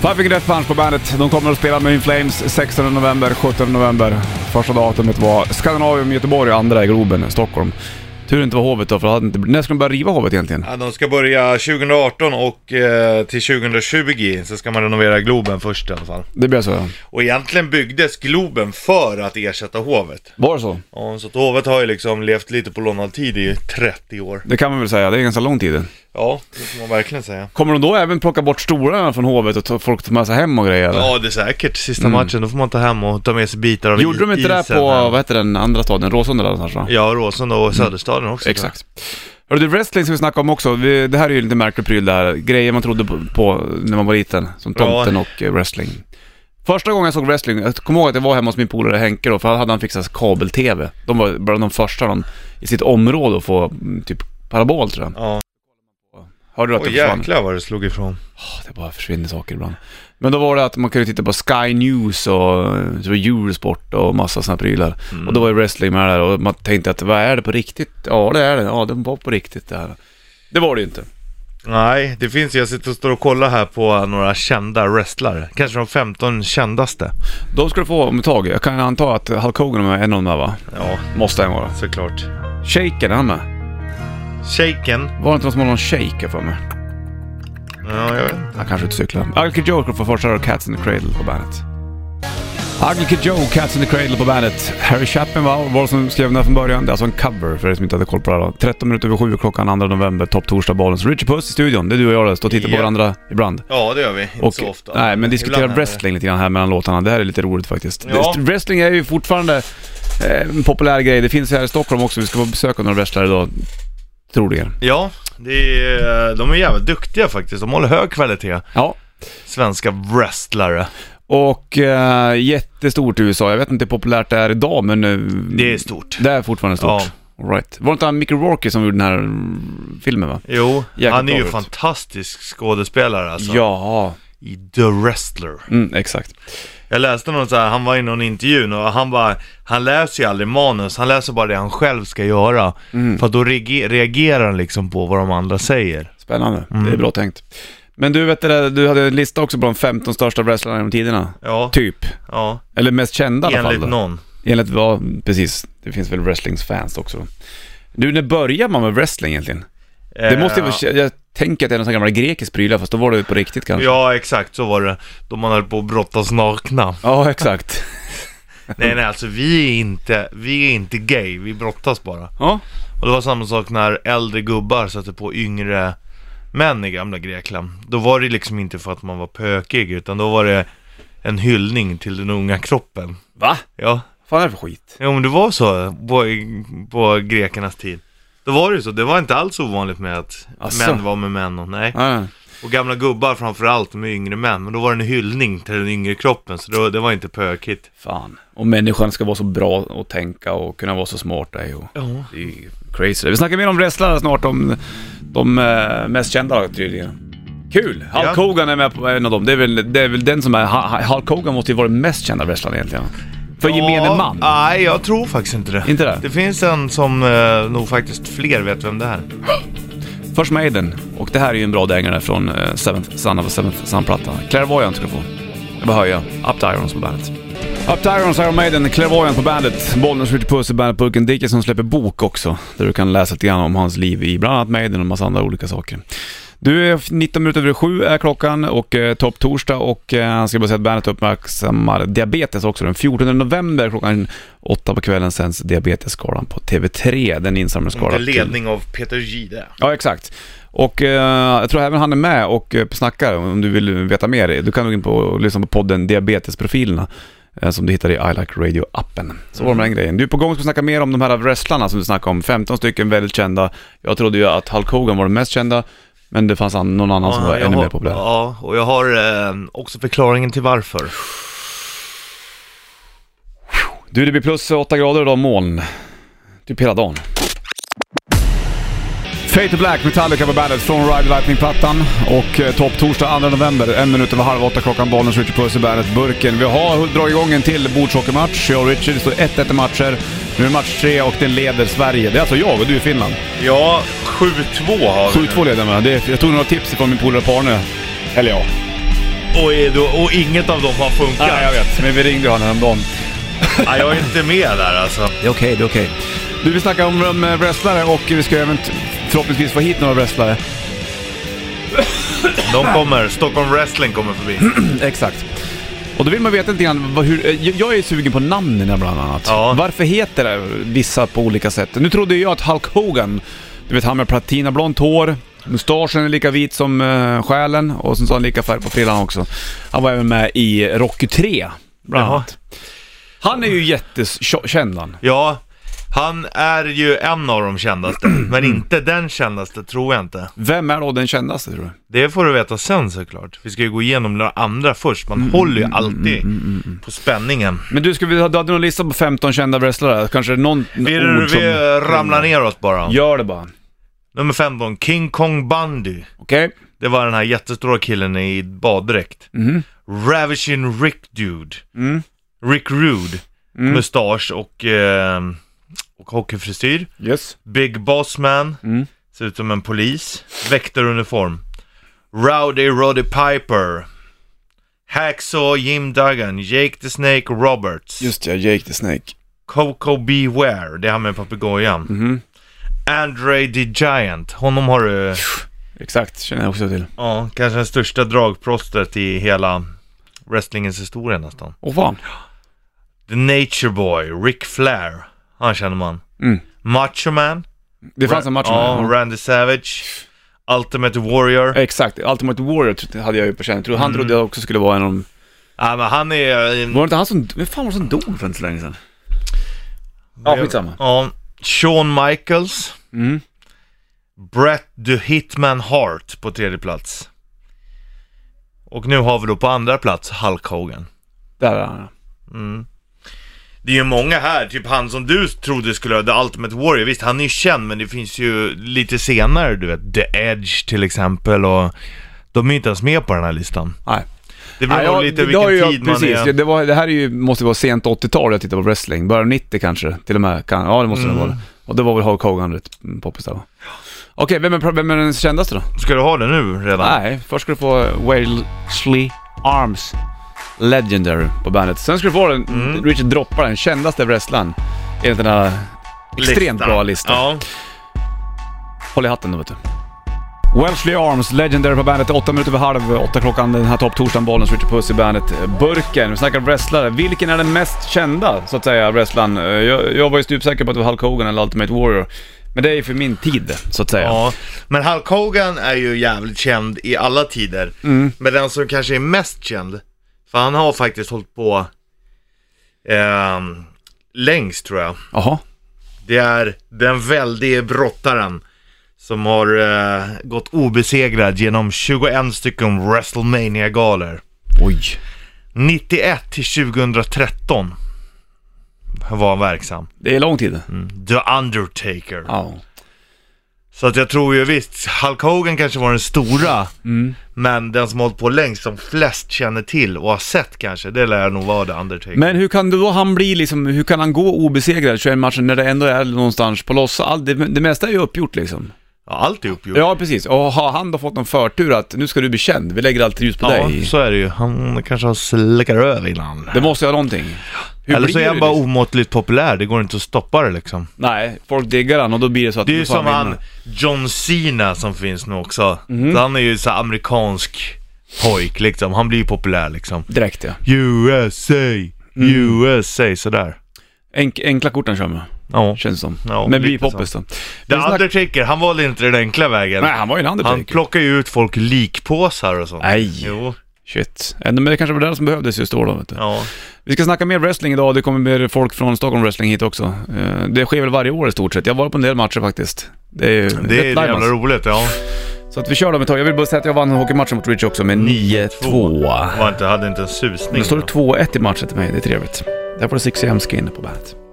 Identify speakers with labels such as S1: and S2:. S1: Five Finger Death Punch på bandet. De kommer att spela med In Flames 16 november, 17 november. Första datumet var Skandinavium, Göteborg, andra i Globen, Stockholm. Tur inte var Hovet då, för det hade inte... när ska de börja riva Hovet egentligen?
S2: Ja, de ska börja 2018 och eh, till 2020 så ska man renovera Globen först i alla fall.
S1: Det blev så ja.
S2: Och egentligen byggdes Globen för att ersätta hovet.
S1: Var det så?
S2: Ja, så att hovet har ju liksom levt lite på lånad tid i 30 år.
S1: Det kan man väl säga, det är ganska lång tid.
S2: Ja, det får man verkligen säga.
S1: Kommer de då även plocka bort stolarna från Hovet och ta, folk tar med sig hem och grejer? eller?
S2: Ja, det är säkert. Sista matchen, då får man ta hem och ta med sig bitar av
S1: Mm. Gjorde de inte det här
S2: isen
S1: på,
S2: här.
S1: vad heter den andra staden, Råsunda där någonstans va?
S2: Ja, Råsunda och Söderstaden också. tror jag.
S1: Exakt. Hörru du, wrestling ska vi snacka om också. Vi, det här är ju lite märklig pryl det här. Grejer man trodde på, på när man var liten. Som tomten och eh, wrestling. Första gången jag såg wrestling, jag kommer ihåg att jag var hemma hos min polare Henke då, för han hade han fixat kabel-TV. De var bland de första de, i sitt område att få mm, typ parabol tror jag.
S2: Ja.
S1: Hörde du att
S2: Åh
S1: det försvann?
S2: jäklar vad det slog ifrån.
S1: Ah, Det bara försvinner saker ibland. Men då var det att man kunde titta på Sky News och eh, så var Eurosport och massa sådana prylar. Och då var ju wrestling med där och man tänkte att vad är det på riktigt? Ja det är det, ja den var på riktigt det här. Det var det ju inte.
S2: Nej, det finns Jag sitter och står och kollar här på några kända wrestlare. Kanske de 15 kändaste.
S1: De ska du få om ett tag. Jag kan anta att Hulk Hogan är en av de här va?
S2: Ja,
S1: Måste han vara.
S2: såklart.
S1: Shaken är han med?
S2: Shaken.
S1: Var det inte någon som hade någon shake här för mig?
S2: Ja, jag vet inte.
S1: Han kanske inte cyklar. Ugly Joe ska få första och Cats in the Cradle på bandet. Ugly Joe, Cats in the Cradle på bandet. Harry Chapman var, var det som skrev den här från början. Det är alltså en cover för er som inte hade koll på det här. då. 13 minuter över 7 klockan 2 november, topp torsdag Bollens. Richard Puss i studion, det är du och jag där, står och tittar på
S2: Ja.
S1: varandra ibland.
S2: Ja, det gör vi. Inte
S1: Och,
S2: så ofta.
S1: Nej, men diskuterar
S2: Ibland är det.
S1: wrestling lite grann här mellan låtarna. Det här är lite roligt faktiskt.
S2: Ja.
S1: Det- Wrestling är ju fortfarande eh, en populär grej. Det finns ju här i Stockholm också. Vi ska få besöka några wrestlare idag. Troligen.
S2: Ja, det är, de är jävligt duktiga faktiskt. De håller hög kvalitet.
S1: Ja,
S2: Svenska wrestlare.
S1: Och eh, jättestort i USA. Jag vet inte hur populärt det är idag men... eh,
S2: Det är stort.
S1: Det är fortfarande stort. All right. Var det inte han Mickey Rourke som gjorde den här mm, filmen va?
S2: Jo,
S1: Jäkligt
S2: han är ju
S1: bra ut.
S2: fantastisk skådespelare alltså.
S1: Ja,
S2: I The Wrestler.
S1: mm, exakt.
S2: Jag läste någon så här, han var i någon intervju och han bara, han läser ju aldrig manus, han läser bara det han själv ska göra.
S1: Mm.
S2: För att då reager- reagerar han liksom på vad de andra säger.
S1: Spännande.
S2: Mm.
S1: Det är bra tänkt. Men du, vet du, det, du hade en lista också på de 15 största wrestlarna genom tiderna.
S2: Ja,
S1: Typ.
S2: ja.
S1: Eller mest kända i alla fall.
S2: enligt
S1: då.
S2: någon.
S1: Enligt vad, precis. Det finns väl wrestlingsfans också. då. Du, när börjar man med wrestling egentligen? Det måste ju
S2: Eh,
S1: vara, jag tänker att det är någon sån gammal grekisk prylar fast då var det ju på riktigt kanske.
S2: Ja, exakt så var det. Då man höll på att brottas nakna.
S1: ja exakt.
S2: Nej, nej, alltså vi är inte, vi är inte gay, vi brottas bara.
S1: Ja.
S2: Och det var samma sak när äldre gubbar satte på yngre män i gamla Grekland. Då var det liksom inte för att man var pökig, utan då var det en hyllning till den unga kroppen.
S1: Va?
S2: Ja,
S1: fan är det för skit?
S2: ja men det var så på, på grekernas tid. Då var det ju så, det var inte alls ovanligt med att
S1: Asså.
S2: män var med män och nej.
S1: Ja, ja.
S2: Och gamla gubbar framförallt med yngre män, men då var det en hyllning till den yngre kroppen, så då, det var inte pökigt.
S1: fan. Och människan ska vara så bra och tänka och kunna vara så smart. Det är ju,
S2: Ja.
S1: det är ju crazy. Vi snackar mer om wrestlare snart, om de eh, mest kända tydligen. Kul! Hulk
S2: Ja.
S1: Hogan är med på en av dem. Det är väl, det är väl den som är... Ha- Ha- Hulk Hogan måste ju vara den mest kända wrestlaren egentligen. För gemene man.
S2: Nej, jag tror faktiskt inte det.
S1: Inte det?
S2: Det finns en som eh, nog faktiskt fler vet vem det är.
S1: Först Maiden, och det här är ju en bra dängare från eh, Seventh Son of a Seventh Son-platta. Clairvoyant ska du få. Jag bara höja. Up to Irons på bandet. Up to Irons, Iron Maiden, Clairvoyant på bandet. Bollnäs skjuter puss i bandetburken. Dickinson släpper bok också, där du kan läsa lite grann om hans liv i bland annat Maiden och massa andra olika saker. Du, är 19 minuter över sju är klockan och eh, topp torsdag och eh, jag ska bara säga att bandet uppmärksammar diabetes också. Den 14 november klockan åtta på kvällen sänds Diabetesskalan på TV3, den
S2: Under
S1: insamlingsskalan. till-
S2: ledning av Peter Gide.
S1: Ja, exakt. Och eh, jag tror även han är med och eh, snackar om du vill veta mer. Du kan gå in på och lyssna på podden Diabetesprofilerna eh, som du hittar i I Like Radio-appen. Så var det med den grejen. Du är på gång att snacka mer om de här wrestlarna som du snackade om. 15 stycken väldigt kända. Jag trodde ju att Hulk Hogan var den mest kända, men det fanns an- någon annan som var
S2: jag
S1: ännu
S2: har-
S1: mer populär.
S2: Ja, och jag har eh, också förklaringen till varför.
S1: Du, det blir plus 8 grader idag, moln. Typ hela dagen. Fate to Black, Metallica på bandet från Ride Lightning-plattan. Och eh, topp torsdag 2 november, en minut över halv åtta klockan, Bollnäs Richard Puss i bandet Burken. Vi har dragit igång en till bordshockeymatch. Jag och Richard, det står 1-1 i matcher. Nu är det match tre och den leder Sverige. Det är alltså jag och du i Finland.
S2: Ja, 7-2 har vi nu.
S1: 7-2 leder jag med. Det är- Jag tog några tips från min polare Parne. Eller ja,
S2: och, är då, och inget av dem har funkat.
S1: Nej, jag vet. Men vi ringde ju honom häromdagen.
S2: Nej, jag är inte med där alltså.
S1: Det är okej, det är okej. Du, vi snackar om, om eh, wrestlare och vi ska även t- förhoppningsvis få hit några wrestlare.
S2: De kommer. Stockholm Wrestling kommer förbi.
S1: Exakt. Och då vill man veta lite grann vad, hur... eh, Jag jag är sugen på namnen bland annat.
S2: Ja.
S1: Varför heter det vissa på olika sätt? Nu trodde ju jag att Hulk Hogan, du vet han med platinablont hår, mustaschen är lika vit som uh, själen och sen så har han lika färg på frillan också. Han var även med i Rocky 3, bland
S2: Jaha.
S1: annat. Han är ju jättekänd han.
S2: Ja, han är ju en av de kändaste. Men inte den kändaste, tror jag inte.
S1: Vem är då den kändaste tror du?
S2: Det får du veta sen såklart. Vi ska ju gå igenom några andra först. Man håller ju alltid på spänningen.
S1: Men du, ska vi, ha- du hade någon lista på 15 kända wrestlare, kanske någon
S2: Vi,
S1: ord som...
S2: vi ramlar neråt bara.
S1: Gör det bara.
S2: Nummer 15, King Kong Bundy.
S1: Okej?
S2: Det var den här jättestora killen i baddräkt.
S1: Mhm.
S2: Ravishing Rick Dude.
S1: Mm.
S2: Rick Rude.
S1: Mm.
S2: Mustasch och, eh, och hockeyfrisyr.
S1: Yes.
S2: Big Boss Man.
S1: Mm.
S2: Ser ut som en polis. Väktaruniform. Rowdy Roddy Piper. Hacksaw Jim Duggan. Jake the Snake Roberts.
S1: ja, Jake the Snake.
S2: Coco Beware. Det är han med papegojan.
S1: Mhm.
S2: Andre the Giant. Honom har du...
S1: Exakt, känner jag också till.
S2: Ja, kanske den största dragprostet i hela wrestlingens historia nästan.
S1: Åh fan.
S2: The Nature Boy, Ric Flair. Han känner man.
S1: Mm.
S2: Macho Man.
S1: Det fanns en match
S2: Ja,
S1: med
S2: Randy Savage. Ultimate Warrior.
S1: ja, Exakt, Ultimate Warrior tro- hade jag ju på känn. Tror- Han trodde jag också skulle vara en av de...
S2: Ja, men han är... eh,
S1: Var det inte han som... Vem fan var det som dog för inte så länge sedan? Ja, skitsamma.
S2: Ja, Shawn Michaels.
S1: Mm.
S2: Brett the Hitman Hart på tredje plats. Och nu har vi då på andra plats Hulk Hogan.
S1: Där är han.
S2: Det är ju många här, typ han som du trodde skulle ha The Ultimate Warrior, visst han är ju känd men det finns ju lite senare du vet, The Edge till exempel och de är ju inte ens med på den här listan.
S1: Nej.
S2: Det beror
S1: Nej, jag-
S2: nog lite
S1: det har
S2: vilken
S1: ju jag-
S2: tid man
S1: precis,
S2: är.
S1: Ja, Det, var, det här är ju, måste vara sent 80-tal jag tittar på wrestling. Början av 90 kanske, till och med. Kan, ja, det måste det
S2: Mm.
S1: vara. Och det var väl Hulk Hogan rätt mm, poppis där va? Okej, vem, är, vem är den kändaste då?
S2: Ska du ha det nu redan?
S1: Nej, först ska du få Walesley Arms Legendary på bandet. Sen ska du få den,
S2: Mm.
S1: Richard Droppa, den kändaste wrestlaren enligt den här extremt
S2: Listan.
S1: bra listan.
S2: Ja.
S1: Håll i hatten då vet du. Wellesley Arms, Legendary på bandet. Åtta minuter över halv åtta klockan den här topptorsdagen. Bollens Richard Puss i bandet. eh, Burken, vi snackar wrestlare. Vilken är den mest kända, så att säga, wrestlaren? Eh, Jag, jag var ju stupsäker på att det var Hulk Hogan eller Ultimate Warrior. Men det är ju för min tid, så att säga.
S2: Ja, men Hulk Hogan är ju jävligt känd i alla tider. Men den som kanske är mest känd, för han har faktiskt hållit på ehm, längst tror jag.
S1: Jaha.
S2: Det är den väldige brottaren som har eh, gått obesegrad genom 21 stycken WrestleMania-galor.
S1: Oj.
S2: 91 till 2013 var han verksam.
S1: Det är lång tid.
S2: The Undertaker.
S1: Ja.
S2: Så att jag tror ju visst, Hulk Hogan kanske var den stora,
S1: Mm.
S2: men den som har hållit på längst, som flest känner till och har sett kanske, det lär nog vara The Undertaker.
S1: Men hur kan då han bli liksom, hur kan han gå obesegrad 21 matcher när det ändå är någonstans på loss? All, det, det mesta är ju uppgjort liksom.
S2: Ja, allt är uppgjort.
S1: Ja, precis. Och har han då fått någon förtur att nu ska du bli känd, vi lägger allt ljus på
S2: Ja,
S1: dig.
S2: så är det ju. Han kanske har släckar över innan.
S1: Det måste jag ha någonting. Hur
S2: Eller
S1: blir
S2: så är han
S1: du
S2: bara
S1: liksom?
S2: omåttligt populär, det går inte att stoppa det liksom.
S1: Nej, folk diggar han och då blir det så att...
S2: Det är
S1: nu
S2: ju
S1: får
S2: som han
S1: vinna.
S2: John Cena som finns nu också.
S1: Mhm.
S2: Så han är ju så här amerikansk pojk liksom, han blir ju populär liksom.
S1: Direkt ja.
S2: USA,
S1: Mm.
S2: USA, sådär.
S1: Enk, enkla korten kör man,
S2: Ja.
S1: känns som.
S2: Ja,
S1: Men blir
S2: lite
S1: poppis då.
S2: The
S1: Vi snack-
S2: Undertaker, han valde inte den enkla vägen.
S1: Nej, han var ju en
S2: Han
S1: undertaker.
S2: plockar ju ut folk i likpåsar och sånt.
S1: Nej.
S2: Jo,
S1: Shit. Ändå, men det kanske var det som behövdes just då då, vet du.
S2: ja.
S1: Vi ska snacka mer wrestling idag, det kommer mer folk från Stockholm Wrestling hit också. Eh, Det sker väl varje år i stort sett. Jag har varit på en del matcher faktiskt. Det är, ju rätt
S2: Det är
S1: live,
S2: jävla
S1: alltså.
S2: roligt, ja.
S1: Så att vi kör dem ett tag. Jag vill bara säga att jag vann hockeymatchen mot Rich också med 9-2.
S2: Jag var inte, hade inte en
S1: Nu
S2: susning.
S1: står det 2-1 i matchen till mig, det är trevligt. Där får du Six AM Skin på bandet.